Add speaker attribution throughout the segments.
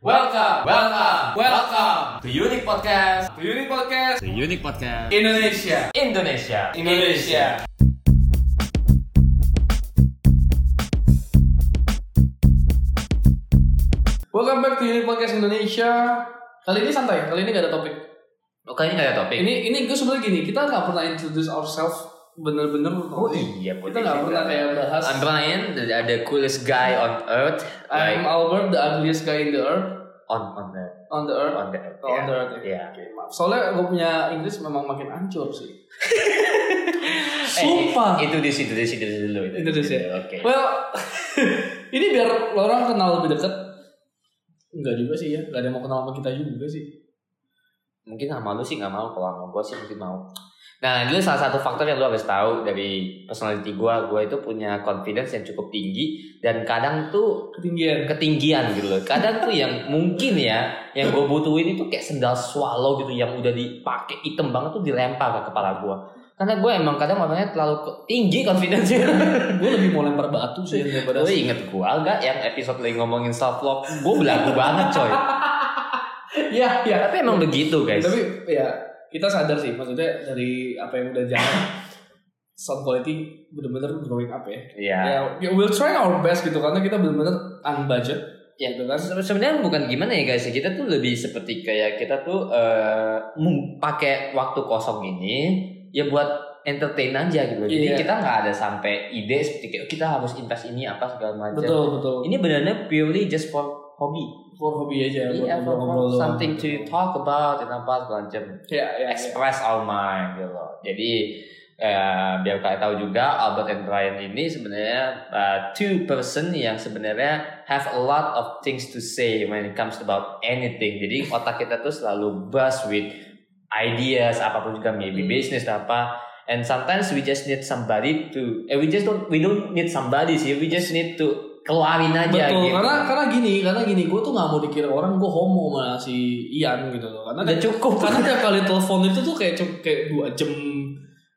Speaker 1: Welcome, welcome, welcome to Unique Podcast, to Unique Podcast, to Unique Podcast Indonesia,
Speaker 2: Iya.
Speaker 1: Indonesia, Indonesia.
Speaker 2: Welcome back to Unit Podcast Indonesia. Kali ini santai, kali ini gak ada topik.
Speaker 1: Oh, kali ini gak ada topik.
Speaker 2: Ini ini gue sebenarnya gini, kita nggak pernah introduce ourselves bener-bener.
Speaker 1: oh iya,
Speaker 2: kita nggak pernah kayak bahas.
Speaker 1: I'm Brian, the, the coolest guy on earth,
Speaker 2: I'm
Speaker 1: like
Speaker 2: Albert, the ugliest guy in the earth,
Speaker 1: on on the
Speaker 2: on the earth.
Speaker 1: on the earth.
Speaker 2: Oh, on the earth,
Speaker 1: Yeah.
Speaker 2: Maaf, soalnya gue punya Inggris memang makin hancur sih.
Speaker 1: Eh,
Speaker 2: Sumpah.
Speaker 1: itu di situ, di situ dulu. itu
Speaker 2: Introduce ya.
Speaker 1: Oke.
Speaker 2: Well, ini biar orang kenal lebih dekat. Enggak juga sih ya, enggak ada yang mau kenal sama kita juga sih.
Speaker 1: mungkin sama lu sih nggak mau kalau sama gue sih mungkin mau nah dulu salah satu faktor yang lu harus tahu dari personality gue gue itu punya confidence yang cukup tinggi dan kadang tuh
Speaker 2: Ketinggian.
Speaker 1: ketinggian gitu loh kadang tuh yang mungkin ya yang gue butuhin itu kayak sendal swallow gitu yang udah dipakai item banget tuh dilempar ke kepala gue karena gue emang kadang orangnya terlalu ke- tinggi confidence-nya
Speaker 2: gue lebih mau lempar batu sih daripada
Speaker 1: Lu inget gue gak yang episode lagi ngomongin self love gue belagu banget coy
Speaker 2: Iya, iya.
Speaker 1: tapi emang begitu guys
Speaker 2: Tapi ya kita sadar sih maksudnya dari apa yang udah jalan sound quality bener-bener growing up ya.
Speaker 1: Iya.
Speaker 2: Ya, we'll try our best gitu karena kita bener-bener on budget
Speaker 1: Ya.
Speaker 2: gitu kan.
Speaker 1: Se- sebenarnya bukan gimana ya guys ya, kita tuh lebih seperti kayak kita tuh eh, mem- pakai waktu kosong ini ya buat entertain aja gitu jadi
Speaker 2: Iya.
Speaker 1: kita nggak ada sampai ide seperti kayak kita harus invest ini apa segala macam
Speaker 2: Betul, betul.
Speaker 1: ini benar-benar purely just for hobi
Speaker 2: For hobi aja buat
Speaker 1: Iya, for- for
Speaker 2: ngobrol-ngobrol doang
Speaker 1: something to
Speaker 2: gitu.
Speaker 1: talk about dan apa segala macam
Speaker 2: Ya, ya. ya.
Speaker 1: express our mind gitu loh. Jadi eh, biar kalian tahu juga Albert and Brian ini sebenarnya eh, two person yang sebenarnya have a lot of things to say when it comes about anything. Jadi
Speaker 2: Hmm.
Speaker 1: otak kita tuh selalu buzz with ideas apapun juga maybe
Speaker 2: Hmm.
Speaker 1: business dan apa. And sometimes we just need somebody to eh we just don't we don't need somebody sih. We just need to keluarin aja
Speaker 2: Betul,
Speaker 1: gitu.
Speaker 2: karena karena gini, karena gini, gue tuh nggak mau dikira orang gue homo sama si Ian gitu loh. Karena
Speaker 1: udah cukup.
Speaker 2: karena tiap kali telepon itu tuh kayak cuma kayak dua jam,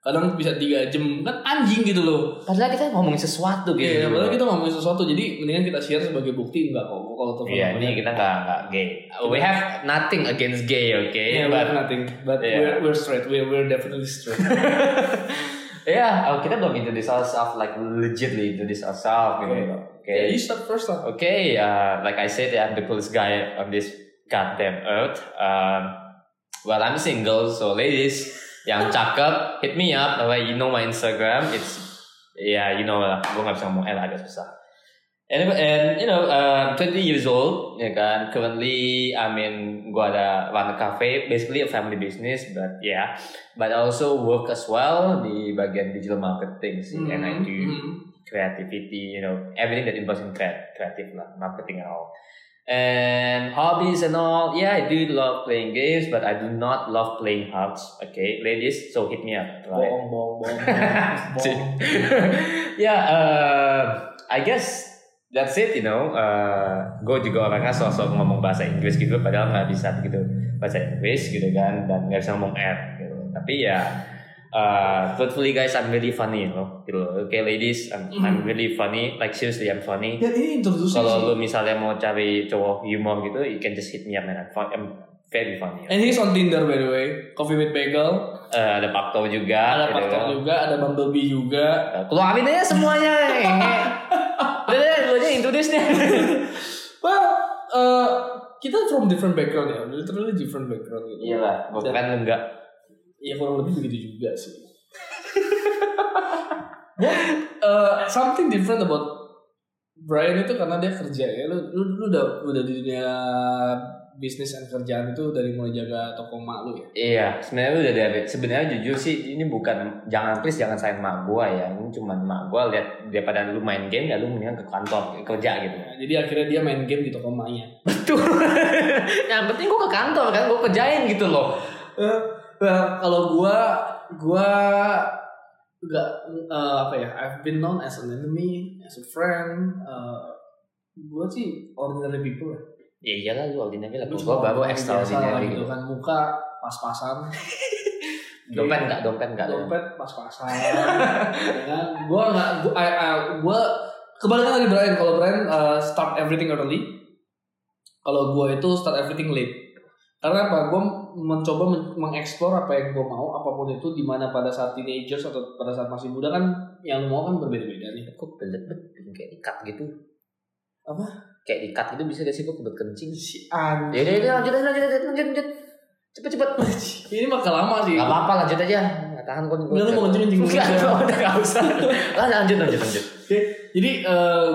Speaker 2: kadang bisa tiga jam kan anjing gitu loh.
Speaker 1: Padahal kita ngomongin sesuatu gitu.
Speaker 2: Iya, padahal kita ngomongin sesuatu, jadi mendingan kita share sebagai bukti enggak kok. Gua Kalau telepon
Speaker 1: Iya, ini kita nggak nggak gay. We have nothing against gay, oke?
Speaker 2: yeah,
Speaker 1: Iya, But
Speaker 2: Iya, we're nothing, but
Speaker 1: Iya.
Speaker 2: we're, we're straight, we're, we're definitely straight.
Speaker 1: yeah, oh, kita belum introduce ourselves like legitly introduce ourselves, gitu.
Speaker 2: Okay.
Speaker 1: Oke,
Speaker 2: yeah, you start first lah.
Speaker 1: oke. uh, like I said, I'm the coolest guy on this goddamn earth. Um, well, I'm single, so ladies yang cakep, hit me up. Alright, you know my Instagram. It's yeah, you know lah. Gue nggak bisa ngomong L agak susah. And, and you know, um, 20 years old, ya kan. Currently, I mean, gua ada run a cafe, basically a family business, but yeah, but I also work as well di bagian digital marketing sih, and
Speaker 2: Mhm,
Speaker 1: I do
Speaker 2: mhm.
Speaker 1: creativity, you know, everything that involves in creat- creative lah, marketing and all. And hobbies and all, yeah, I do love playing games, but I do not love playing hearts. Okay, ladies, so hit me up, right?
Speaker 2: Bohong, bohong, bohong, bohong,
Speaker 1: Cik.
Speaker 2: bohong.
Speaker 1: yeah, uh, I guess that's it, you know. Uh, gue juga orangnya sosok ngomong bahasa Inggris gitu, padahal nggak bisa begitu bahasa Inggris gitu kan, dan nggak bisa ngomong R gitu. Tapi ya, uh, truthfully guys, I'm really funny, you know. Gitu. loh. Okay, ladies, I'm, I'm really funny. Like seriously, I'm funny.
Speaker 2: Dan Ya, ini introduction
Speaker 1: Kalau
Speaker 2: sih.
Speaker 1: lu misalnya mau cari cowok humor gitu, you can just hit me up, man. I'm, fun- I'm very funny.
Speaker 2: And he's on Tinder by the way. Coffee with Bagel.
Speaker 1: Uh, ada Pakto juga.
Speaker 2: Ada
Speaker 1: gitu
Speaker 2: Pastor
Speaker 1: kan.
Speaker 2: juga, ada Bumblebee juga.
Speaker 1: Uh, Keluarin aja semuanya. hehe. Udah deh, lu aja introduce deh.
Speaker 2: Well, eh, kita from different background ya, literally different background gitu.
Speaker 1: Iya lah, gue keren lu enggak.
Speaker 2: Ya kurang lebih begitu juga sih. Gua, uh, something different about Brian itu karena dia kerja ya. Lu, lu, lu udah udah di dunia bisnis dan kerjaan itu dari mulai jaga toko mak lu ya.
Speaker 1: Iya, sebenarnya udah dari sebenarnya jujur sih ini bukan jangan please jangan sayang mak gua ya. Ini cuman mak gua lihat daripada lu main game ya lu mendingan ke kantor kerja gitu.
Speaker 2: Nah, jadi akhirnya dia main game di toko maknya.
Speaker 1: Betul. Yang penting gua ke kantor kan gua kerjain gitu loh.
Speaker 2: Eh, well, kalau gua gua nggak eh, apa ya? I've been known as an enemy, as a friend. Eh, gua sih ordinary people ya.
Speaker 1: Ya iyalah lu ordinary lah.
Speaker 2: Lu
Speaker 1: Gua
Speaker 2: cuma
Speaker 1: baru
Speaker 2: orang biasa
Speaker 1: extraordinary
Speaker 2: gitu
Speaker 1: gitu.
Speaker 2: kan muka pas-pasan
Speaker 3: Iya.
Speaker 1: Dompet enggak, dompet enggak.
Speaker 2: dompet pas-pasan ya kan gue nggak eh, gue eh, gue kebalikan dari Brian kalau Brian uh, start everything early Kalau gue itu start everything late. Karena apa? Gue mencoba men- mengeksplor apa yang gue mau, apapun itu di mana pada saat teenagers atau pada saat masih muda kan yang lu mau kan berbeda-beda nih.
Speaker 3: Kok belet-belet kayak ikat gitu.
Speaker 2: Apa?
Speaker 3: Kayak ikat gitu bisa gak sih kok kebelet kencing?
Speaker 2: Si an.
Speaker 3: Ya udah udah, lanjut lanjut lanjut lanjut lanjut. Cepet cepet.
Speaker 2: Ini mah lama sih.
Speaker 3: Gak apa-apa lanjut aja. Gak tahan kok.
Speaker 2: Enggak lu mau kencing kencing dulu
Speaker 3: Enggak,
Speaker 2: aja.
Speaker 3: udah gak usah. Lanjut lanjut lanjut.
Speaker 2: Jadi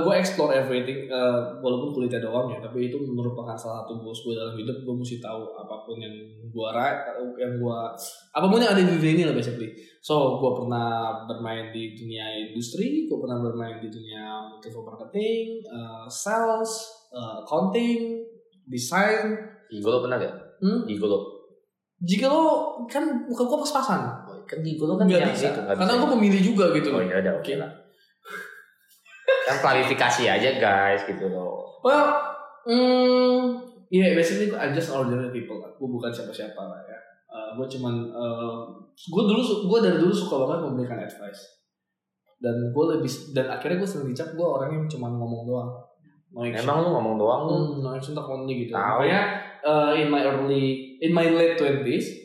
Speaker 2: gue explore everything eh, walaupun kulitnya doang ya, tapi itu merupakan salah satu goals gue dalam hidup. Gue mesti tahu apapun yang gue ra, yang gue apapun yang ada di dunia ini lah basically. So gue pernah bermain di dunia industri, gue pernah bermain di dunia multiple marketing, eh, sales, eh, accounting, desain.
Speaker 3: Gigolo pernah gak?
Speaker 2: Hmm?
Speaker 3: Gigolo.
Speaker 2: Jika lo kan bukan gue pas-pasan,
Speaker 3: Oh, Kan gigolo kan
Speaker 2: nggak
Speaker 3: yang
Speaker 2: bisa.
Speaker 3: itu, nggak
Speaker 2: Karena
Speaker 3: bisa.
Speaker 2: gue pemilih juga gitu.
Speaker 3: Oh ya udah oke lah. kan klarifikasi aja guys gitu loh.
Speaker 2: Well, mm, yeah, basically I'm just ordinary people. Aku bukan siapa-siapa lah ya. Uh, gue cuman, gue dulu, su- gua dari dulu suka banget memberikan advice. Dan gue lebih, dan akhirnya gue sering dicap gue orang yang cuman ngomong doang. No action.
Speaker 3: Emang lu ngomong doang lu.
Speaker 2: Hmm, no action tak only gitu.
Speaker 3: Tahu.
Speaker 2: Makanya uh, in my early, in my late twenties,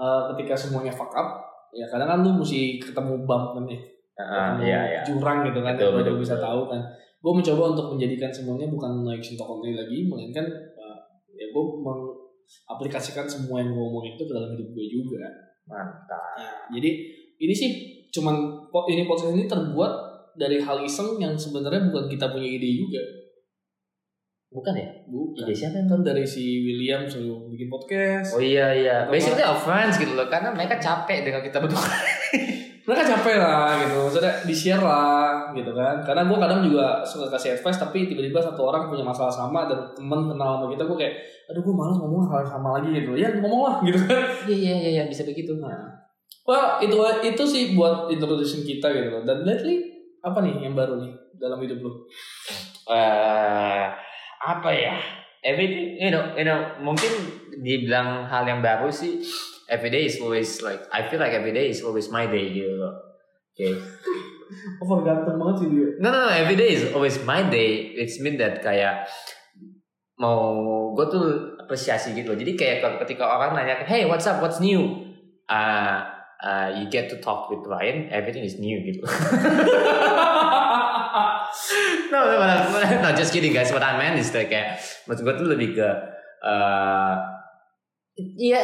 Speaker 2: uh, ketika semuanya fuck up, ya kadang kan lu mesti ketemu bump nih
Speaker 3: Heeh,
Speaker 2: ketemu
Speaker 3: iya iya.
Speaker 2: jurang gitu kan
Speaker 3: Betul,
Speaker 2: yang baru
Speaker 3: betul,
Speaker 2: bisa
Speaker 3: betul.
Speaker 2: tahu kan gue mencoba untuk menjadikan semuanya bukan no action talk only lagi melainkan uh, ya gue mengaplikasikan semua yang gue omongin itu ke dalam hidup gue juga
Speaker 3: Mantap.
Speaker 2: Nah, jadi ini sih cuman po- ini podcast ini terbuat dari hal iseng yang sebenarnya bukan kita punya ide juga
Speaker 3: Bukan ya? Ide
Speaker 2: bukan
Speaker 3: siapa yang
Speaker 2: kan dari si William suruh bikin podcast
Speaker 3: Oh iya iya.
Speaker 2: Atau
Speaker 3: Basically offense gitu loh karena mereka capek dengan kita berdua.
Speaker 2: mereka capek lah gitu maksudnya di share lah gitu kan karena gue kadang juga suka kasih advice tapi tiba-tiba satu orang punya masalah sama dan temen kenal sama kita gue kayak aduh gue malas ngomong hal yang sama lagi gitu ya ngomong lah gitu kan
Speaker 3: Iya iya iya iya, bisa begitu
Speaker 1: Nah,
Speaker 3: mah.
Speaker 2: well itu itu sih buat introduction kita gitu loh dan lately apa nih yang baru nih dalam hidup lo
Speaker 1: eh apa ya everything you know you know mungkin dibilang hal yang baru sih every day is always like I feel like every day is always my day gitu loh okay
Speaker 2: over ganteng banget sih dia
Speaker 1: no no no every day is always my day it's mean that kayak mau gue tuh apresiasi gitu loh jadi kayak kalau ketika orang nanya hey what's up what's new ah ah, you get to talk with Ryan everything is new gitu no, no, what I- what I- no, just kidding guys. What I meant is like kayak maksud gue tuh lebih ke eh ya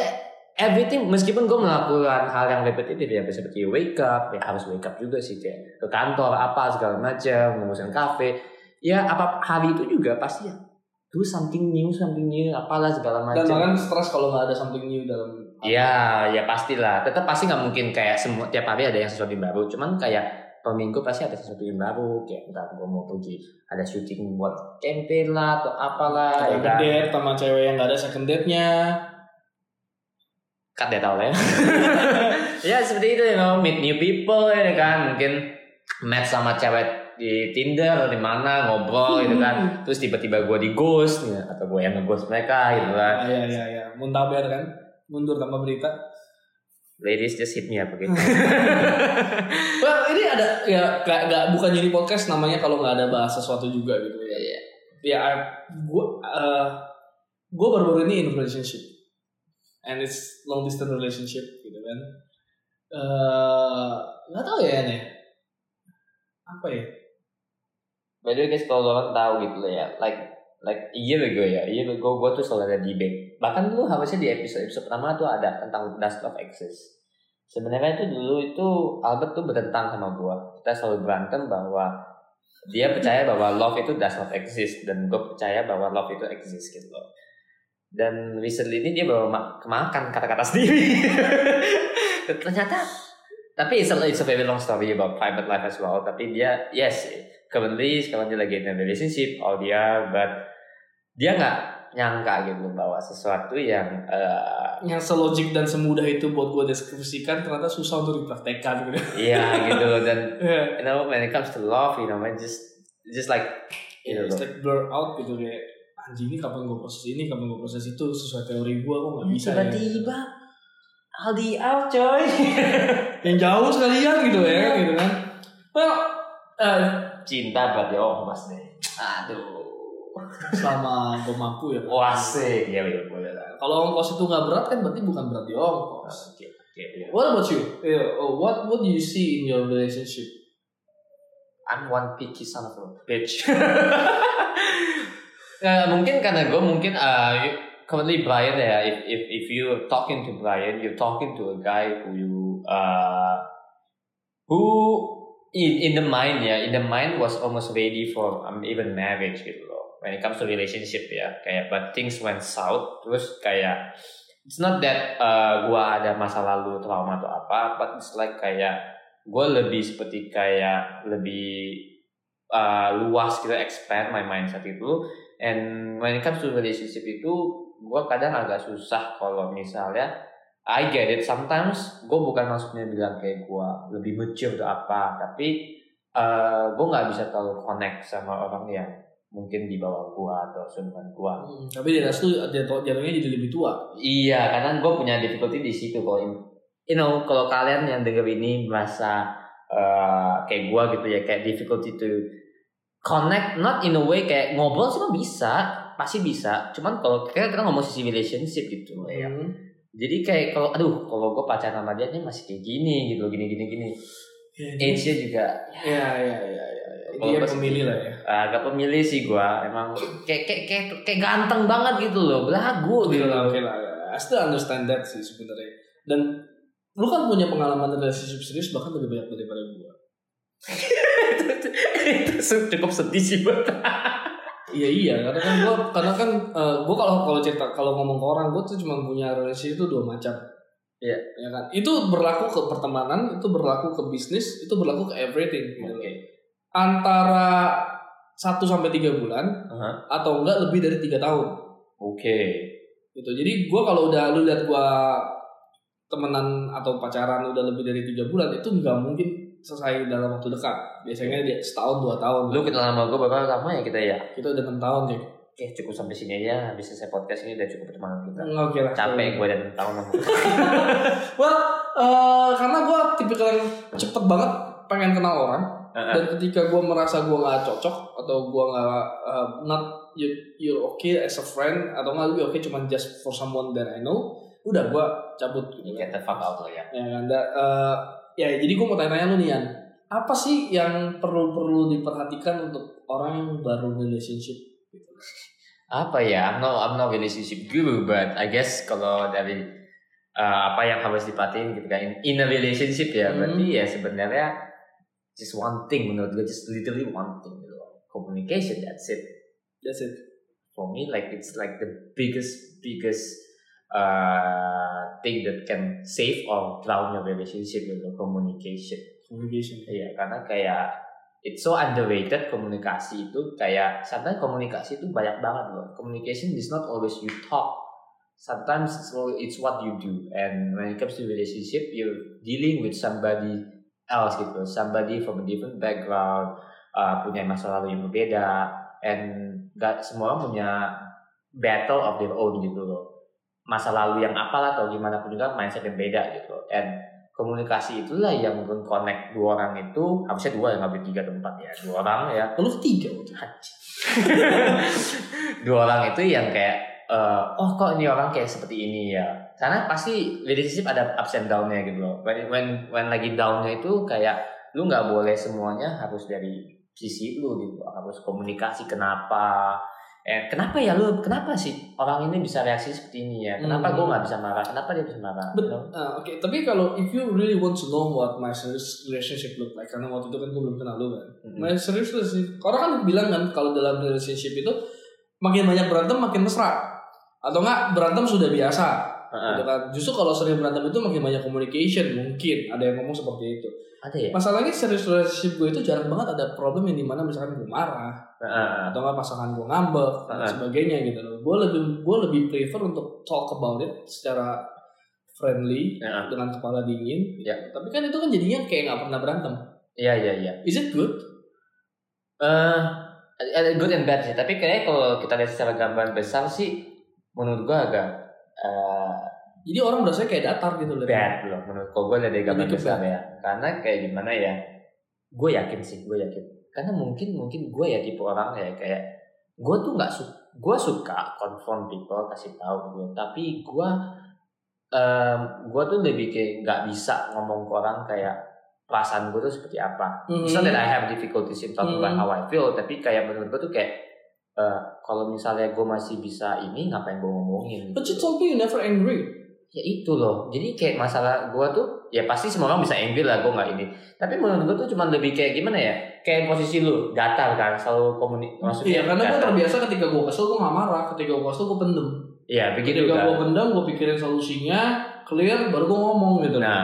Speaker 1: everything meskipun gue melakukan hal yang repetitif ya seperti wake up ya harus wake up juga sih kayak ke kantor apa segala macam ngurusin kafe ya apa hari itu juga pasti ya do something new something new apalah segala
Speaker 2: dan bahkan
Speaker 1: macam
Speaker 2: stres kalau nggak ada something new dalam
Speaker 1: ya ya pastilah tetap pasti nggak mungkin kayak semua tiap hari ada yang sesuatu yang baru cuman kayak per minggu pasti ada sesuatu yang baru kayak entah gue mau pergi ada syuting buat campaign lah atau apalah ya
Speaker 2: ada
Speaker 1: kan?
Speaker 2: date sama cewek yang nggak ada second date nya
Speaker 1: cut deh tau lah ya. ya seperti itu you know, meet new people ya kan mungkin match sama cewek di Tinder atau di mana ngobrol gitu kan terus tiba-tiba gue di ghost ya, atau gue yang nge-ghost mereka gitu kan
Speaker 2: ya ya ya muntaber kan mundur tanpa berita
Speaker 1: ladies just hit me up okay?
Speaker 2: Well, ini ada ya gak, gak, bukan jadi podcast namanya kalau nggak ada bahas sesuatu juga gitu ya. Ya, I- gua eh, gua baru-baru ini in relationship and it's long distance relationship gitu kan. Eh, nggak tahu ya nih. Apa ya?
Speaker 1: By the way guys kalau orang tahu gitu lah ya, like like a year ago ya, a year ago gue tuh selalu ada debate. Bahkan dulu harusnya di episode episode pertama tuh ada tentang Dust of Access. Sebenarnya itu dulu itu Albert tuh bertentang sama gue. Kita selalu berantem bahwa dia percaya bahwa love itu does not exist dan gue percaya bahwa love itu exist gitu loh. Dan recently ini dia bawa ma- kemakan kata-kata sendiri. Ternyata tapi it's a, it's a very long story about private life as well. Tapi dia yes currently sekarang dia lagi in a relationship all dia but dia nggak nyangka gitu bahwa sesuatu yang eh,
Speaker 2: Yang selogik dan semudah itu buat gua deskripsikan ternyata susah untuk dipraktekkan gitu.
Speaker 1: iya gitu loh dan
Speaker 2: Yeah.
Speaker 1: you know when it comes to love you know when just just like you know
Speaker 2: It's like blur out gitu kayak anjing ini kapan gua proses ini, kapan gua proses itu sesuai teori gua
Speaker 1: Oh,
Speaker 2: kok nggak bisa ya.
Speaker 1: tiba-tiba all the out coy
Speaker 2: yang jauh sekalian gitu ya gitu kan well eh,
Speaker 1: cinta berarti oh mas deh aduh
Speaker 2: selama gue mampu ya.
Speaker 1: Wah sih, ya ya boleh lah.
Speaker 2: Kalau ongkos itu nggak berat kan berarti bukan berarti ongkos.
Speaker 1: Oke oke. ya.
Speaker 2: What about you? Yeah, uh, what what do you see in your relationship?
Speaker 1: I'm one picky son of a bitch. Ya, mungkin karena gue mungkin uh, you- currently Brian ya if if if you talking to Brian you're talking to a guy who you uh, who in in the mind ya in the mind was almost ready for um, even marriage gitu loh when it comes to relationship ya kayak but things went south terus kayak it's not that uh, gua ada masa lalu trauma atau apa but it's like kayak gue lebih seperti kayak lebih uh, luas gitu expand my mindset itu and when it comes to relationship itu gue kadang agak susah kalau misalnya I get it sometimes gue bukan maksudnya bilang kayak gue lebih mature atau apa tapi uh, gue nggak bisa terlalu connect sama orang yang mungkin di bawah gue atau seumpama gue
Speaker 2: Hmm, tapi dia itu jatuhnya jadi lebih tua.
Speaker 1: Iya, karena gue punya difficulty di situ kalau in- you know kalau kalian yang denger ini merasa eh, kayak gue gitu ya kayak difficulty to connect not in a way kayak ngobrol sih mah bisa pasti bisa cuman kalau kita, kita ngomong sisi relationship gitu ya
Speaker 2: Hmm.
Speaker 1: jadi kayak kalau aduh kalau gue pacaran sama dia ini masih kayak gini gitu gini gini gini
Speaker 2: Iya,
Speaker 1: age nya juga
Speaker 2: Ya ya ya ya. ya.
Speaker 1: Kalau
Speaker 2: Dia
Speaker 1: pas-
Speaker 2: pemilih lah ya.
Speaker 1: eh, agak pemilih sih gue emang kayak kayak kayak, kayak ganteng banget gitu loh belagu
Speaker 2: Oke
Speaker 1: gitu
Speaker 2: lah, Iya,
Speaker 1: loh
Speaker 2: oke lah. I still understand that sih sebenarnya. Dan lu kan punya pengalaman relationship serius bahkan lebih banyak daripada gua.
Speaker 1: itu cukup sedih sih buat
Speaker 2: Iya iya, karena kan gua karena kan eh, gua kalau kalau cerita kalau ngomong ke orang gua tuh cuma punya relationship itu dua macam.
Speaker 1: Iya.
Speaker 2: Ya kan? Itu berlaku ke pertemanan, itu berlaku ke bisnis, itu berlaku ke everything. gitu. Antara 1 sampai 3 bulan
Speaker 1: Aha.
Speaker 2: atau enggak lebih dari 3 tahun.
Speaker 1: Oke.
Speaker 2: gitu jadi gue kalau udah lu lihat gue temenan atau pacaran udah lebih dari tiga bulan itu nggak mungkin selesai dalam waktu dekat biasanya dia setahun dua tahun
Speaker 1: Iya. Lu kenal sama gue bakal lama ya kita ya?
Speaker 2: kita udah enam tahun ya
Speaker 1: Oke cukup sampai sini aja. Habis selesai podcast ini udah cukup pertemanan kita.
Speaker 2: Nggak oke lah
Speaker 1: Capek gue dan tahun sama
Speaker 2: well eh, karena gue tipikal yang cepet banget pengen kenal orang
Speaker 1: Heeh.
Speaker 2: dan ketika gue merasa gue nggak cocok atau gue nggak eh, not you, you're okay as a friend atau nggak lebih oke cuman just for someone that I know udah gue cabut gitu
Speaker 1: Ini kita fuck out lah ya.
Speaker 2: ya kan da- eh, ya jadi gue mau tanya-tanya lu nih Yan apa sih yang perlu-perlu diperhatikan untuk orang yang baru relationship
Speaker 1: Apa ya? I'm no I'm no relationship guru, but I guess kalau dari eh, apa yang harus dipatiin gitu kan in, in a relationship ya
Speaker 2: Hmm.
Speaker 1: berarti ya sebenarnya just one thing menurut gue just literally one thing gitu loh. communication that's it
Speaker 2: that's it
Speaker 1: for me like it's like the biggest biggest uh, thing that can save or drown your relationship with the communication
Speaker 2: communication
Speaker 1: Iya, karena kayak it's so underrated komunikasi itu kayak sometimes komunikasi itu banyak banget loh. Communication is not always you talk. Sometimes it's all- it's what you do. And when it comes to relationship, you're dealing with somebody else gitu, somebody from a different background, uh, punya masa lalu yang berbeda, and gak semua orang punya battle of their own gitu loh. Masa lalu yang apalah atau gimana pun juga mindset yang beda gitu. And komunikasi itulah yang mungkin connect dua orang itu harusnya dua ya nggak boleh tiga atau empat ya dua orang ya
Speaker 2: lu ketiga waktu itu.
Speaker 1: dua orang itu yang kayak eh, oh kok ini orang kayak seperti ini ya karena pasti leadership ada ups and down-nya gitu loh when when, when lagi down-nya itu kayak lu nggak boleh semuanya harus dari sisi lu gitu harus komunikasi kenapa eh kenapa ya lu kenapa sih orang ini bisa reaksi seperti ini ya
Speaker 2: Hmm.
Speaker 1: kenapa gua nggak bisa marah kenapa dia bisa marah Gitu.
Speaker 2: Bet-
Speaker 1: You know?
Speaker 2: Ah, oke tapi kalau if you really want to know what my serious relationship look like karena waktu itu kan gue belum kenal lu kan
Speaker 1: Mm-mm.
Speaker 2: my serious relationship orang kan bilang kan kalau dalam relationship itu makin banyak berantem makin mesra atau enggak berantem sudah biasa
Speaker 1: Heeh.
Speaker 2: gitu kan justru kalau sering berantem itu makin banyak communication mungkin ada yang ngomong seperti itu
Speaker 1: ada ya
Speaker 2: Masalahnya serius relationship gue itu jarang banget ada problem yang dimana misalkan gue marah
Speaker 1: Heeh.
Speaker 2: atau nggak pasangan gue ngambek dan
Speaker 1: Heeh.
Speaker 2: sebagainya gitu loh. Gue lebih gue lebih prefer untuk talk about it secara friendly
Speaker 1: Heeh.
Speaker 2: dengan kepala dingin.
Speaker 1: Ya.
Speaker 2: Tapi kan itu kan jadinya kayak nggak pernah berantem.
Speaker 1: iya iya iya
Speaker 2: Is it good?
Speaker 1: eh ada good and bad sih, tapi kayaknya kalau kita lihat secara gambaran besar sih, menurut gua agak eh,
Speaker 2: Jadi orang berasa kayak datar gitu loh.
Speaker 1: bad loh. Menurut gua gua lihat dari gambaran
Speaker 2: Lebih ke
Speaker 1: besar ya, karena kayak gimana ya, gue yakin sih, gue yakin. Karena mungkin mungkin gue ya tipe orang ya kayak gue tuh nggak suka gue suka confront people kasih tahu gitu tapi gue em, gue tuh lebih kayak nggak bisa ngomong ke orang kayak perasaan gue tuh seperti apa It's not that I have difficulties in talking about
Speaker 2: Hmm.
Speaker 1: how I feel tapi kayak menurut gue tuh kayak eh, kalau misalnya gue masih bisa ini ngapain gue ngomongin
Speaker 2: But you told me you never angry.
Speaker 1: ya itu loh jadi kayak masalah gua tuh ya pasti semua orang bisa angry lah gua nggak ini tapi menurut gua tuh cuman lebih kayak gimana ya kayak posisi lu datar kan selalu komunikasi maksudnya
Speaker 2: Iya, karena gue
Speaker 1: datar.
Speaker 2: terbiasa ketika gue kesel gue gak marah, ketika gue kesel gue pendem.
Speaker 1: Iya, begitu
Speaker 2: ketika
Speaker 1: kan
Speaker 2: gue pendem gue pikirin solusinya, clear baru gue ngomong gitu.
Speaker 1: nah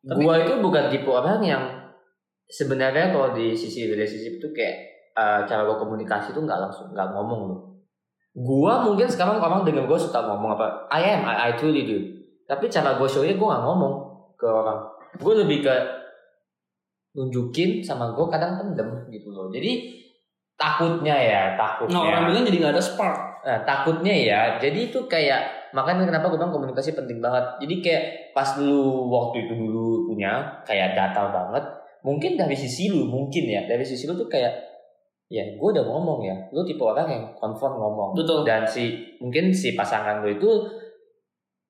Speaker 2: Tapi-
Speaker 1: gua itu bukan tipe orang yang sebenarnya kalau di sisi relationship tuh kayak eh, cara gua komunikasi tuh nggak langsung nggak ngomong loh gua mungkin sekarang orang dengan gua suka ngomong apa I am I, I truly do tapi cara gua show nya gua nggak ngomong ke orang gua lebih ke nunjukin sama gua kadang pendem gitu loh jadi takutnya ya takutnya
Speaker 2: Nah orang bilang jadi gak ada spark.
Speaker 1: Nah, takutnya ya, jadi itu kayak makanya kenapa gue bilang komunikasi penting banget. Jadi kayak pas lu waktu itu dulu punya kayak datar banget, mungkin dari sisi lu mungkin ya, dari sisi lu tuh kayak ya gue udah ngomong ya, lu tipe orang yang confront ngomong
Speaker 2: Betul.
Speaker 1: dan si mungkin si pasangan lu itu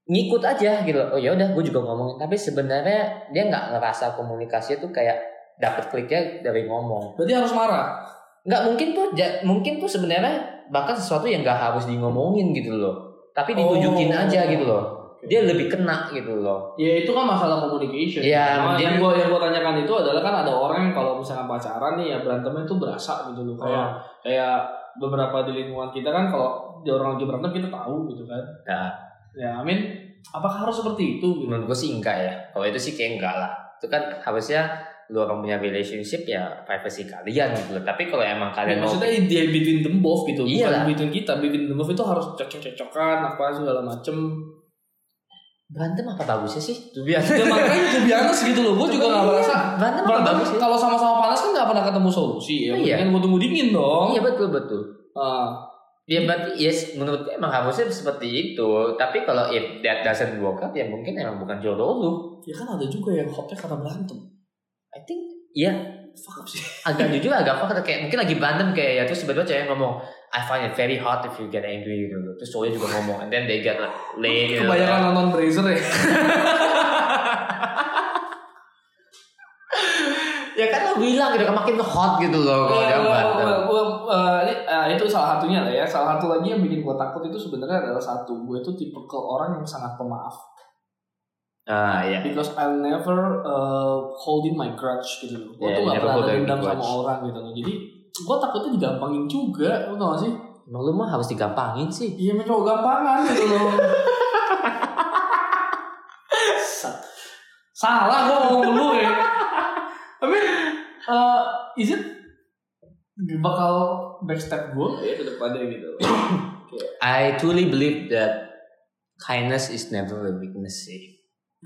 Speaker 1: ngikut aja gitu. Oh ya udah, gue juga ngomongin. Tapi sebenarnya dia nggak ngerasa komunikasi tuh kayak dapet kliknya dari ngomong
Speaker 2: Berarti harus marah.
Speaker 1: nggak mungkin tuh ja- mungkin tuh sebenarnya bahkan sesuatu yang nggak harus di ngomongin gitu loh tapi ditunjukin
Speaker 2: Oh.
Speaker 1: aja gitu loh dia lebih kena gitu loh
Speaker 2: Ya itu kan masalah communication.
Speaker 1: Iya,
Speaker 2: Nah,
Speaker 1: mungkin-
Speaker 2: yang gue yang gua tanyakan itu adalah kan ada orang yang kalau misalkan pacaran nih ya berantemnya itu berasa gitu
Speaker 1: Oh.
Speaker 2: loh kayak kayak beberapa di lingkungan kita kan kalau di orang lagi berantem kita tahu gitu kan.
Speaker 1: Ya.
Speaker 2: Ya, amin. Apakah harus seperti itu? Gitu?
Speaker 1: menurut gue sih enggak ya kalau itu sih kayak enggak lah itu kan harusnya lu orang punya relationship ya privacy kalian gitu loh tapi kalau emang
Speaker 2: Ya,
Speaker 1: kalian mau
Speaker 2: maksudnya dia between them both gitu,
Speaker 1: Iyalah.
Speaker 2: bukan between kita. Between them both itu harus cocok-cocokan apa segala macem.
Speaker 1: berantem apa bagusnya sih tuh biasa
Speaker 2: Ya makanya to be honest gitu loh, gue juga gak merasa.
Speaker 1: berantem apa Iya. bagus
Speaker 2: Berantem
Speaker 1: sih
Speaker 2: kalau sama-sama panas kan gak pernah ketemu solusi ya.
Speaker 1: Iya.
Speaker 2: Mendingan gue tunggu dingin dong.
Speaker 1: iya betul betul
Speaker 2: Ah.
Speaker 1: ya berarti yes menurut gue emang harusnya seperti itu tapi kalau if that doesn't work out ya mungkin emang bukan jodoh lu
Speaker 2: ya kan ada juga yang hopnya karena berantem.
Speaker 1: I think ya
Speaker 2: Fuck up sih.
Speaker 1: agak jujur agak fakta kayak mungkin lagi berantem kayak ya terus tiba-tiba cewek ngomong I find it very hard if you get angry gitu terus cowoknya juga ngomong and then they get like laid gitu
Speaker 2: Kebanyakan nonton Brazier ya.
Speaker 1: ya kan lo bilang gitu kan makin hot gitu
Speaker 2: Iya,
Speaker 1: loh kalau dia berantem
Speaker 2: Gua- gua- eh, ini, eh, itu salah satunya lah ya. Salah satu lagi yang bikin gue takut itu sebenarnya adalah satu. Gue itu tipe ke orang yang sangat pemaaf.
Speaker 1: ah iya
Speaker 2: because I'll never uh, holding my grudge gitu loh. Gue tuh
Speaker 1: Yeah, you
Speaker 2: gak
Speaker 1: never
Speaker 2: pernah
Speaker 1: hold
Speaker 2: ada
Speaker 1: any
Speaker 2: dendam
Speaker 1: grudge.
Speaker 2: sama orang gitu loh. Jadi gue takutnya digampangin juga, lo tau gak sih?
Speaker 1: emang lu mah harus digampangin sih
Speaker 2: Iya main cowok gampangan gitu loh. Sat. Salah gue ngomong dulu ya. Tapi uh, is it bakal backstab gue ya ke depannya gitu.
Speaker 1: I truly believe that kindness is never a weakness sih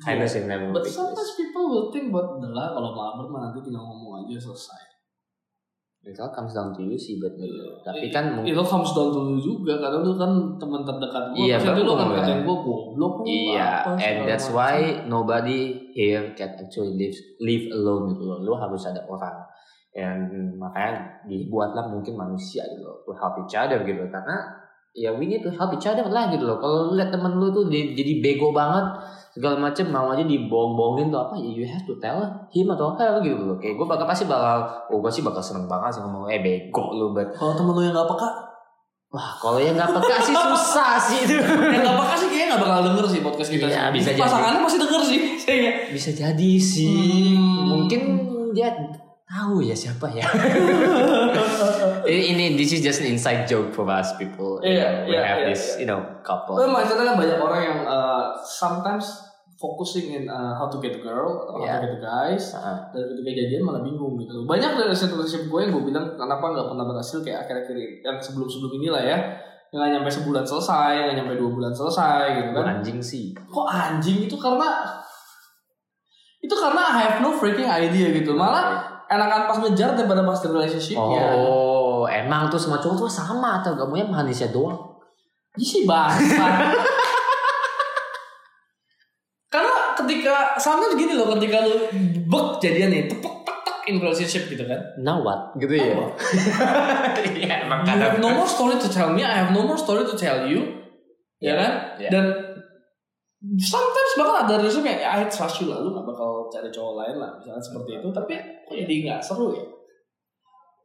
Speaker 1: kindness is never a
Speaker 2: But sometimes
Speaker 1: weakness
Speaker 2: people will think buat "Udah lah kalau mabar mah nanti tinggal ngomong aja selesai.
Speaker 1: it all comes down to you sih buat gue
Speaker 2: Iya.
Speaker 1: tapi kan mungkin
Speaker 2: itu comes down to lu juga karena lu kan teman terdekat gue
Speaker 1: Iya,
Speaker 2: pasti lu
Speaker 1: betul,
Speaker 2: kan
Speaker 1: kan.
Speaker 2: katain gue goblok lu apa,
Speaker 1: Iya,
Speaker 2: segala
Speaker 1: and that's
Speaker 2: macam.
Speaker 1: why nobody here can actually live live alone gitu loh. Lu harus ada orang. And makanya dibuatlah mungkin manusia gitu loh, to help each other gitu karena ya we need to help each other lah gitu loh. Kalau lu lihat temen lu tuh di- jadi bego banget segala macem mau aja dibohong-bohongin tuh apa ya you have to tell him atau her gitu loh kayak gue bakal pasti bakal oh gue sih bakal seneng banget sih ngomong eh bego lu bet
Speaker 2: kalau temen lu yang gak peka
Speaker 1: wah kalau yang nggak peka sih susah sih itu
Speaker 2: yang gak peka sih kayaknya gak bakal denger sih podcast kita
Speaker 1: Iya,
Speaker 2: sih.
Speaker 1: bisa jadi.
Speaker 2: pasangannya masih denger sih kayaknya
Speaker 1: bisa jadi sih
Speaker 2: Hmm.
Speaker 1: mungkin dia tahu ya siapa ya ini ini this is just an inside joke for us people You
Speaker 2: Iya,
Speaker 1: know, we
Speaker 2: iya,
Speaker 1: have
Speaker 2: iya,
Speaker 1: this
Speaker 2: iya.
Speaker 1: you know couple
Speaker 2: Tapi maksudnya kan banyak orang yang uh, sometimes focusing in uh, how to get a girl atau how
Speaker 1: Iya.
Speaker 2: to get a guys
Speaker 1: Heeh.
Speaker 2: dan ketika jadian malah bingung gitu loh. banyak dari relationship gue yang gue bilang kenapa nggak pernah berhasil kayak akhir-akhir ini, yang sebelum-sebelum inilah ya yang nggak nyampe sebulan selesai, yang nggak nyampe dua bulan selesai gitu
Speaker 1: Lu
Speaker 2: kan.
Speaker 1: anjing sih
Speaker 2: kok anjing itu karena itu karena I have no freaking idea gitu malah enakan pas ngejar daripada pas di relationship ya
Speaker 1: oh emang tuh semua cowok tuh sama atau kamu yang manisnya doang
Speaker 2: Ih, sih bahasa karena ketika sometimes gini loh ketika lu bek jadian nih tepek tek tek in relationship gitu kan.
Speaker 3: Now what?
Speaker 1: gitu ya
Speaker 2: Apa?
Speaker 1: Iya, emang
Speaker 2: You have
Speaker 1: kadang
Speaker 2: no more story to tell me. I have no more story to tell you. Ya
Speaker 1: Iya,
Speaker 2: kan?
Speaker 1: iya.
Speaker 2: Dan sometimes bakal ada reason kayak "Ya, I trust you lah, lu gak bakal cari cowok lain lah, misalnya seperti itu. Tapi kok jadi nggak seru ya?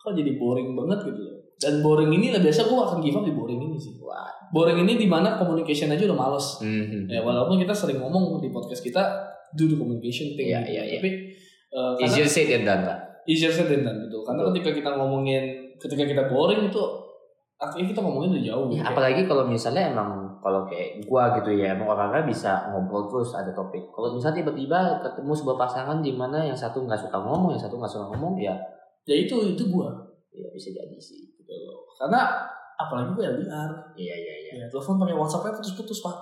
Speaker 2: Kok jadi boring banget gitu loh. Dan boring ini lah biasa gue akan give up di boring ini sih.
Speaker 1: Wah.
Speaker 2: Boring ini dimana communication aja udah males.
Speaker 1: Mhm.
Speaker 2: Ya walaupun kita sering ngomong di podcast kita do the communication thing
Speaker 1: Iya,
Speaker 2: gitu.
Speaker 1: iya, iya.
Speaker 2: Tapi uh, karena
Speaker 1: easier said than done lah
Speaker 2: easier said than done gitu. Karena ketika kita ngomongin ketika kita boring itu artinya kita ngomongin udah jauh.
Speaker 1: Iya,
Speaker 2: gitu.
Speaker 3: Ya,
Speaker 2: Kayak,
Speaker 3: apalagi kalau misalnya emang kalau kayak gua gitu ya emang orang-orang bisa ngobrol terus ada topik. Kalau misalnya tiba-tiba ketemu sebuah pasangan di mana yang satu nggak suka ngomong, yang satu nggak suka ngomong, ya
Speaker 2: ya itu itu gua
Speaker 3: ya bisa jadi sih.
Speaker 2: gitu loh. Karena apalagi gue LDR.
Speaker 3: Iya iya iya.
Speaker 2: Ya, telepon pakai WhatsApp-nya putus-putus, Pak.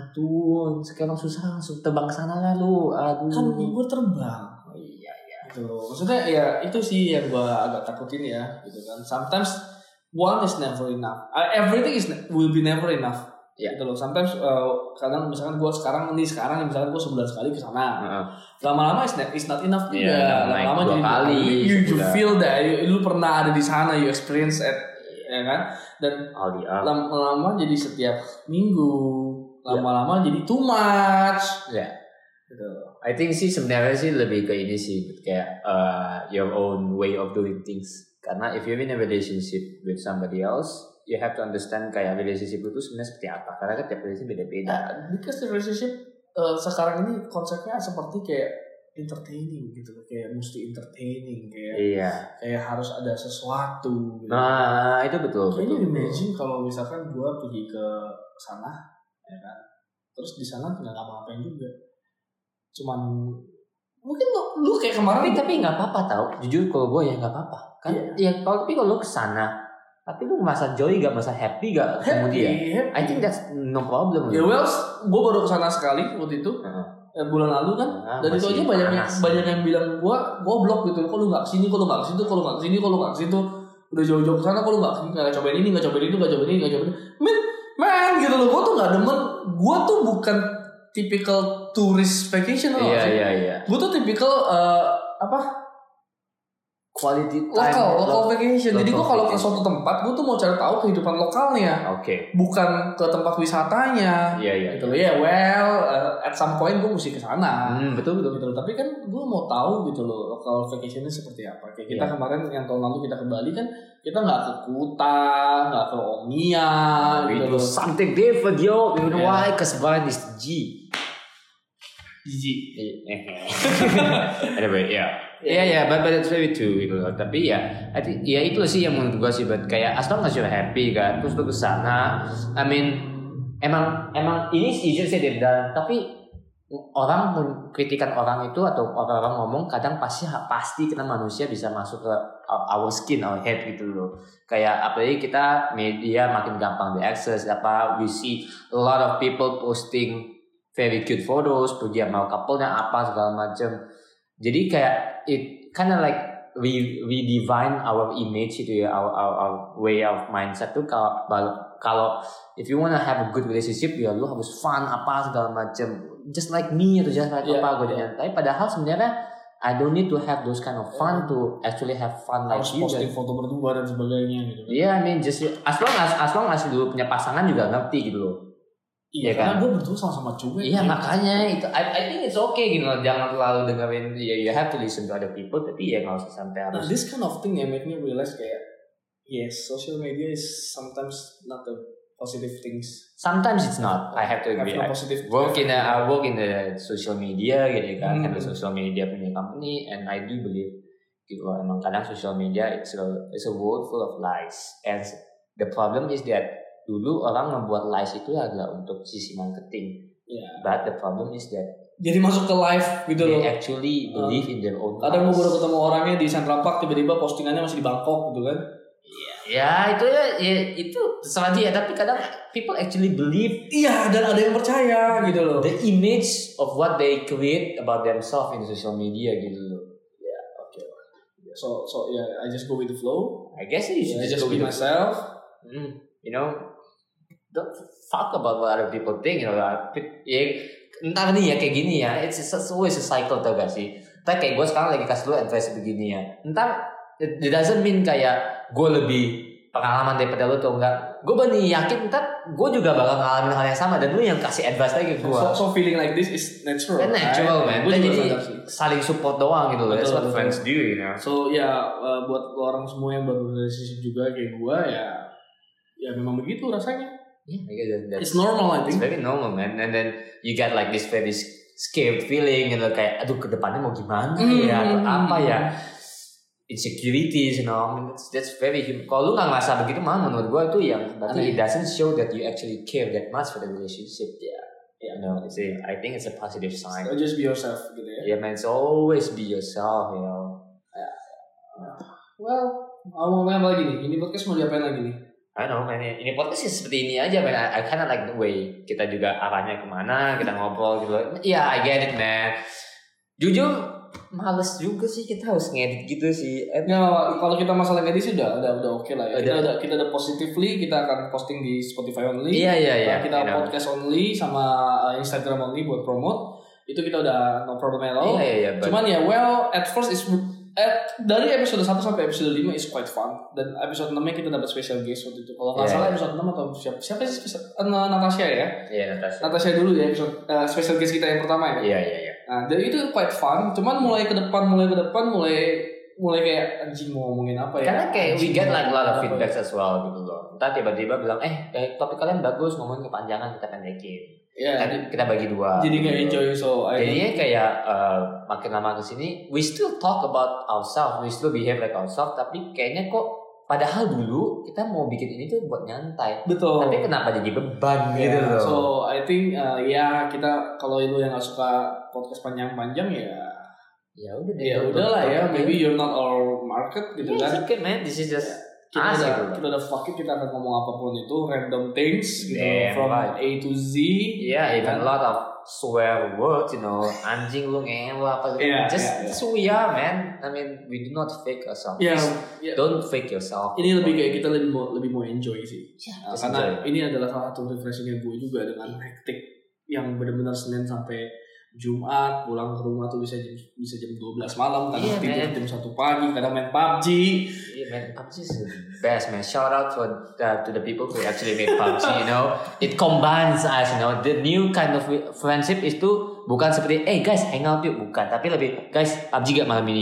Speaker 3: Aduh, sekarang susah langsung terbang ke sana lah lu. Aduh.
Speaker 2: Kan
Speaker 1: Hmm.
Speaker 2: gue terbang.
Speaker 3: Oh, iya iya.
Speaker 2: Gitu. Maksudnya ya itu sih yang gua agak takutin ya, gitu kan. Sometimes one is never enough. Uh, everything is ne- will be never enough.
Speaker 1: Ya.
Speaker 2: Gitu loh. Sometimes uh, kadang misalkan gua sekarang nih sekarang misalkan gua sebulan sekali ke sana.
Speaker 1: Heeh.
Speaker 2: Lama-lama is not, it's not enough juga.
Speaker 1: Iya,
Speaker 2: Lama-lama
Speaker 1: naik dua
Speaker 2: jadi
Speaker 1: kali,
Speaker 2: You, you
Speaker 1: sebulan.
Speaker 2: feel that you, lu pernah ada di sana, you experience it, ya kan? Dan
Speaker 3: All the Oh, up.
Speaker 2: lama-lama jadi setiap minggu,
Speaker 1: Ya.
Speaker 2: lama-lama jadi too much.
Speaker 1: Iya.
Speaker 2: Gitu.
Speaker 1: I think sih sebenarnya sih lebih ke ini sih kayak uh, your own way of doing things. Karena if you're in a relationship with somebody else, you have to understand kayak relationship itu sebenarnya seperti apa. Karena kan tiap relationship beda-beda.
Speaker 2: Nah, because the relationship uh, sekarang ini konsepnya seperti kayak entertaining gitu loh, kayak mesti entertaining kayak
Speaker 1: Iya.
Speaker 2: kayak harus ada sesuatu. Gitu.
Speaker 1: Nah itu betul.
Speaker 2: Can you
Speaker 1: betul, betul.
Speaker 2: imagine kalau misalkan gue pergi ke sana, ya kan? Terus di sana nggak ngapa-ngapain juga, cuman mungkin lu, lu kayak
Speaker 3: Tapi
Speaker 2: kemarin
Speaker 3: tapi nggak apa-apa tau. Jujur kalau gue ya nggak apa-apa. Kan ya
Speaker 2: Iya.
Speaker 3: kalau tapi kalau lu kesana, tapi lu merasa joy gak, merasa happy gak ketemu dia?
Speaker 2: Happy.
Speaker 3: I think that's no problem.
Speaker 2: Ya well, gue baru kesana sekali waktu itu
Speaker 3: Heeh.
Speaker 2: eh, bulan lalu kan.
Speaker 3: Ah,
Speaker 2: Dan itu
Speaker 3: masih
Speaker 2: aja banyak yang,
Speaker 3: panas.
Speaker 2: banyak yang bilang gue goblok gitu. Kok lu nggak kesini, kok lu nggak kesini, kok lu nggak kesini, kok lu nggak kesini. Udah jauh-jauh kesana, kok lu nggak kesini, nggak cobain ini, nggak cobain itu, nggak cobain ini, nggak cobain ini. Men, men gitu loh. Gue tuh nggak demen. Gue tuh bukan tipikal tourist vacation loh.
Speaker 1: Iya iya iya.
Speaker 2: Gue tuh tipikal eh, apa
Speaker 3: quality time.
Speaker 2: lokal, lokal vacation. Jadi gue
Speaker 3: local
Speaker 2: kalau ke
Speaker 3: vacation.
Speaker 2: suatu tempat, gue tuh mau cari tahu kehidupan lokalnya,
Speaker 1: Oke.
Speaker 2: bukan ke tempat wisatanya
Speaker 1: Iya iya.
Speaker 2: gitu loh ya well uh, at some point gue mesti ke sana
Speaker 1: Hmm, betul betul.
Speaker 2: gitu loh tapi kan gue mau tahu gitu loh lokal vacationnya seperti apa kayak kita kemarin yang tahun lalu kita ke Bali kan kita nggak ke Kuta nggak ke Omia
Speaker 1: We
Speaker 3: Nah,
Speaker 2: gitu
Speaker 1: do
Speaker 2: loh
Speaker 1: something different yo. You know
Speaker 2: Yeah.
Speaker 1: why? Cause Vine is G.
Speaker 2: jijik
Speaker 1: anyway, ya. Iya ya, but but it's very true gitu loh. Tapi ya, I think- ya itu sih yang menurut gua sih, but kayak as long as you're happy kan, terus lu kesana, I mean, emang emang ini easier sih dari dalam, tapi orang men- kritikan orang itu atau orang-orang ngomong kadang pasti pasti kita manusia bisa masuk ke uh, our skin, our head gitu loh. Kayak apalagi kita media makin gampang diakses, apa we see a lot of people posting very cute photos, pergi sama couple-nya apa segala macam. Jadi kayak it kinda like we we define our image itu ya, our our, our way of mindset tuh kalau kalau if you wanna have a good relationship ya lu harus fun apa segala macam. Just like me atau just like
Speaker 2: Yeah,
Speaker 3: apa gue yeah. Tapi padahal sebenarnya I don't need to have those kind of fun to actually have fun like
Speaker 2: harus
Speaker 3: you guys.
Speaker 2: posting foto berdua dan sebagainya gitu kan
Speaker 3: Iya, I mean just as long as as long as lu punya pasangan juga ngerti gitu loh. Iya
Speaker 2: iya karena gue berdua sama-sama cewek
Speaker 3: Iya makanya itu I, I think it's okay gitu loh jangan terlalu dengerin ya you have to listen to other people tapi ya nggak usah sampai
Speaker 2: nah
Speaker 3: harus
Speaker 2: this kind of thing yang make me realize kayak yes social media is sometimes not the positive things
Speaker 3: sometimes it's not I have to
Speaker 2: have
Speaker 3: agree
Speaker 2: no
Speaker 3: I
Speaker 2: positive
Speaker 3: work in the I work in the social media gitu kan
Speaker 2: Hmm.
Speaker 3: handle social media punya company and I do believe gitu loh emang kadang social media it's a it's a world full of lies and the problem is that dulu orang membuat lies itu adalah untuk sisi marketing
Speaker 2: Iya.
Speaker 3: but the problem is that
Speaker 2: jadi masuk ke live gitu loh
Speaker 3: they actually believe in their own
Speaker 2: Kadang gue
Speaker 3: lies.
Speaker 2: baru ketemu orangnya di Central Park tiba-tiba postingannya masih di Bangkok gitu kan.
Speaker 3: Ya itu ya, ya itu terserah dia tapi kadang people actually believe
Speaker 2: Iya, dan ada yang percaya gitu loh.
Speaker 3: the image of what they create about themselves in social media gitu loh.
Speaker 2: Ya, So so yeah, I just go with the flow.
Speaker 3: I guess you
Speaker 1: Iya,
Speaker 3: should
Speaker 2: I
Speaker 3: just
Speaker 2: just
Speaker 3: go
Speaker 2: be
Speaker 3: with the-
Speaker 2: myself.
Speaker 3: Hmm, you know don't fuck about what other people think you know. Ya, entar nih ya kayak gini ya. It's, it's always a cycle tau gak sih?
Speaker 1: Tapi kayak gue sekarang lagi kasih lu advice begini ya. Entar it, it doesn't mean kayak gue lebih pengalaman daripada lu tuh enggak. Gue bener yakin entar gue juga bakal ngalamin hal yang sama dan lu yang kasih advice lagi ke gue.
Speaker 2: So, so feeling like this is natural.
Speaker 1: Kan natural, man.
Speaker 2: Gue
Speaker 1: Kita
Speaker 2: juga
Speaker 1: jadi-
Speaker 2: sadar sih.
Speaker 1: Saling support doang gitu loh.
Speaker 2: Betul,
Speaker 1: That's what
Speaker 2: betul.
Speaker 1: friends do, you know.
Speaker 2: So ya eh, buat lo orang semua yang baru relationship juga kayak gue ya ya memang begitu rasanya.
Speaker 1: Yeah, I guess that- that's-
Speaker 2: It's normal I
Speaker 1: It's
Speaker 2: think.
Speaker 1: very normal man and then you get like this very scared feeling gitu kayak aduh kedepannya mau gimana ya atau
Speaker 2: Hmm.
Speaker 1: apa ya insecurities you know I mean, that's, that's very human kalau lu nggak ngerasa begitu malah menurut gua itu yang berarti
Speaker 2: Aneh.
Speaker 1: it doesn't show that you actually care that much for the relationship ya yeah. you know it's a- I think it's a positive sign
Speaker 2: So, just be yourself gitu ya.
Speaker 1: yeah man so always be yourself you know
Speaker 2: Well, mau ngomongin apa lagi nih? Ini podcast mau diapain lagi nih?
Speaker 1: I don't know man, ini podcast sih seperti ini aja man, I, I kinda like the way kita juga arahnya kemana, kita ngobrol gitu loh. Iya, I get it man. Jujur, males juga sih kita harus ngedit gitu sih. Eh,
Speaker 2: Ya, kalau kita masalah medis udah udah udah oke lah ya. Kita
Speaker 1: Udah.
Speaker 2: ada kita ada positively kita akan posting di Spotify only.
Speaker 1: Iya, iya, iya.
Speaker 2: Nah, kita
Speaker 1: you know.
Speaker 2: podcast only sama uh, Instagram only buat promote. Itu kita udah no problem at all.
Speaker 1: Iya, iya, iya. but-
Speaker 2: Cuman ya well at first is at, dari episode 1 sampai episode 5 is quite fun dan episode 6 nya kita dapat special guest waktu itu. Kalau nggak
Speaker 1: Iya,
Speaker 2: salah
Speaker 1: iya.
Speaker 2: episode 6 atau siapa siapa sih spesial- eh, Natasha ya?
Speaker 1: Iya, Natasha.
Speaker 2: Natasha dulu ya episode eh, special guest kita yang pertama ya.
Speaker 1: Iya, iya, iya.
Speaker 2: Nah, dari itu quite fun. Cuman mulai ke depan, mulai ke depan, mulai mulai kayak anjing mau ngomongin apa ya?
Speaker 1: Karena kayak we
Speaker 2: Anjing
Speaker 1: get
Speaker 2: mau
Speaker 1: like a lot of
Speaker 2: ngomongin apa ya?
Speaker 1: feedbacks as well gitu loh. Entah tiba-tiba bilang, eh, eh, topik kalian bagus, ngomongin kepanjangan kita pendekin.
Speaker 2: Ya,
Speaker 1: Kita,
Speaker 2: jadi-
Speaker 1: kita bagi dua.
Speaker 2: jadi nggak
Speaker 1: gitu loh.
Speaker 2: enjoy so I
Speaker 1: Jadinya kayak uh, makin lama kesini, we still talk about ourselves, we still behave like ourselves, tapi kayaknya kok padahal dulu kita mau bikin ini tuh buat nyantai.
Speaker 2: betul.
Speaker 1: Tapi kenapa jadi beban
Speaker 2: Ya,
Speaker 1: gitu loh?
Speaker 2: Oh. So I think uh, ya kita kalau lu yang nggak suka podcast panjang-panjang ya
Speaker 1: ya udah deh.
Speaker 2: ya
Speaker 1: tutup-
Speaker 2: udahlah ya
Speaker 1: tutup.
Speaker 2: maybe you're not our market gitu
Speaker 1: Yeah, it's
Speaker 2: kan
Speaker 1: okay man, this is just
Speaker 2: kita
Speaker 1: us
Speaker 2: udah
Speaker 1: gitu loh.
Speaker 2: kita udah fuck it kita akan ngomong apapun itu random things gitu
Speaker 1: Damn
Speaker 2: from
Speaker 1: right.
Speaker 2: A to Z
Speaker 1: Yeah, even
Speaker 2: Kan?
Speaker 1: a lot of swear words, you know, anjing lu ngewe apa gitu.
Speaker 2: Yeah,
Speaker 1: just
Speaker 2: yeah, yeah.
Speaker 1: that's who we are, man. I mean, we do not fake ourselves.
Speaker 2: ya
Speaker 1: Just
Speaker 2: ya.
Speaker 1: Don't fake yourself.
Speaker 2: ini lebih kayak kita lebih mau lebih mau enjoy sih Nah,
Speaker 1: Yeah, just
Speaker 2: karena
Speaker 1: enjoy.
Speaker 2: ini adalah salah satu refreshingnya gue juga dengan hektik yang benar-benar senin sampai Jumat pulang ke rumah tuh bisa jam bisa jam 12 malam kadang
Speaker 1: Iya,
Speaker 2: tidur
Speaker 1: man.
Speaker 2: jam 1 pagi kadang main PUBG
Speaker 1: Yeah, man, PUBG is the best, man. Shout out for the, to the people who actually made PUBG. You know, it combines us. You know, the new kind of friendship is to bukan seperti, eh guys, hang out yuk, bukan. Tapi lebih, guys, PUBG gak malam ini.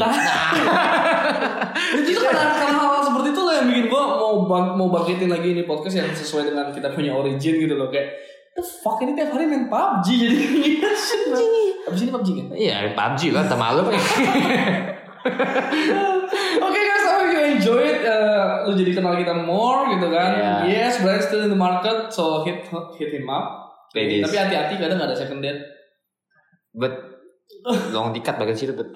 Speaker 2: itu karena karena hal, kan seperti itu lah yang bikin gue mau bang, mau bangkitin lagi ini podcast yang sesuai dengan kita punya origin gitu loh kayak the fuck ini tiap hari main PUBG jadi abis ini PUBG kan
Speaker 1: Iya, PUBG lah, sama lu.
Speaker 2: Oke guys, I hope you enjoy it. Uh, lu jadi kenal kita more gitu kan.
Speaker 1: Yeah.
Speaker 2: Yes, Brian still in the market, so hit hit him up.
Speaker 1: Ladies.
Speaker 2: Tapi hati-hati kadang gak ada second date.
Speaker 1: But long dikat bagian situ. But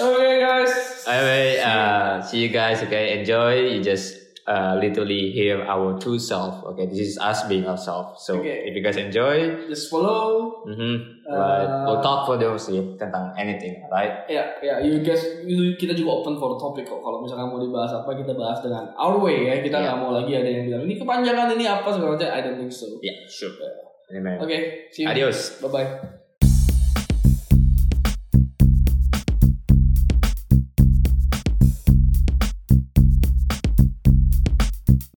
Speaker 2: Oke guys.
Speaker 1: anyway, uh, see you guys. Okay, enjoy. You just uh, literally hear our true self. Okay, this is us being ourselves. So
Speaker 2: Okay.
Speaker 1: if you guys enjoy,
Speaker 2: Just follow.
Speaker 1: mhm,
Speaker 2: Uh,
Speaker 1: right, we'll talk for those yeah, tentang anything, right?
Speaker 2: Ya, ya, you guys, you- kita juga open for topic kok. Kalau misalkan mau dibahas apa, kita bahas dengan our way ya. Kita nggak
Speaker 1: Yeah.
Speaker 2: mau lagi ada yang bilang ini kepanjangan ini apa segala macam. I don't think so.
Speaker 1: Yeah, sure. Anyway.
Speaker 2: Oke, see you.
Speaker 1: Adios.
Speaker 2: Bye bye.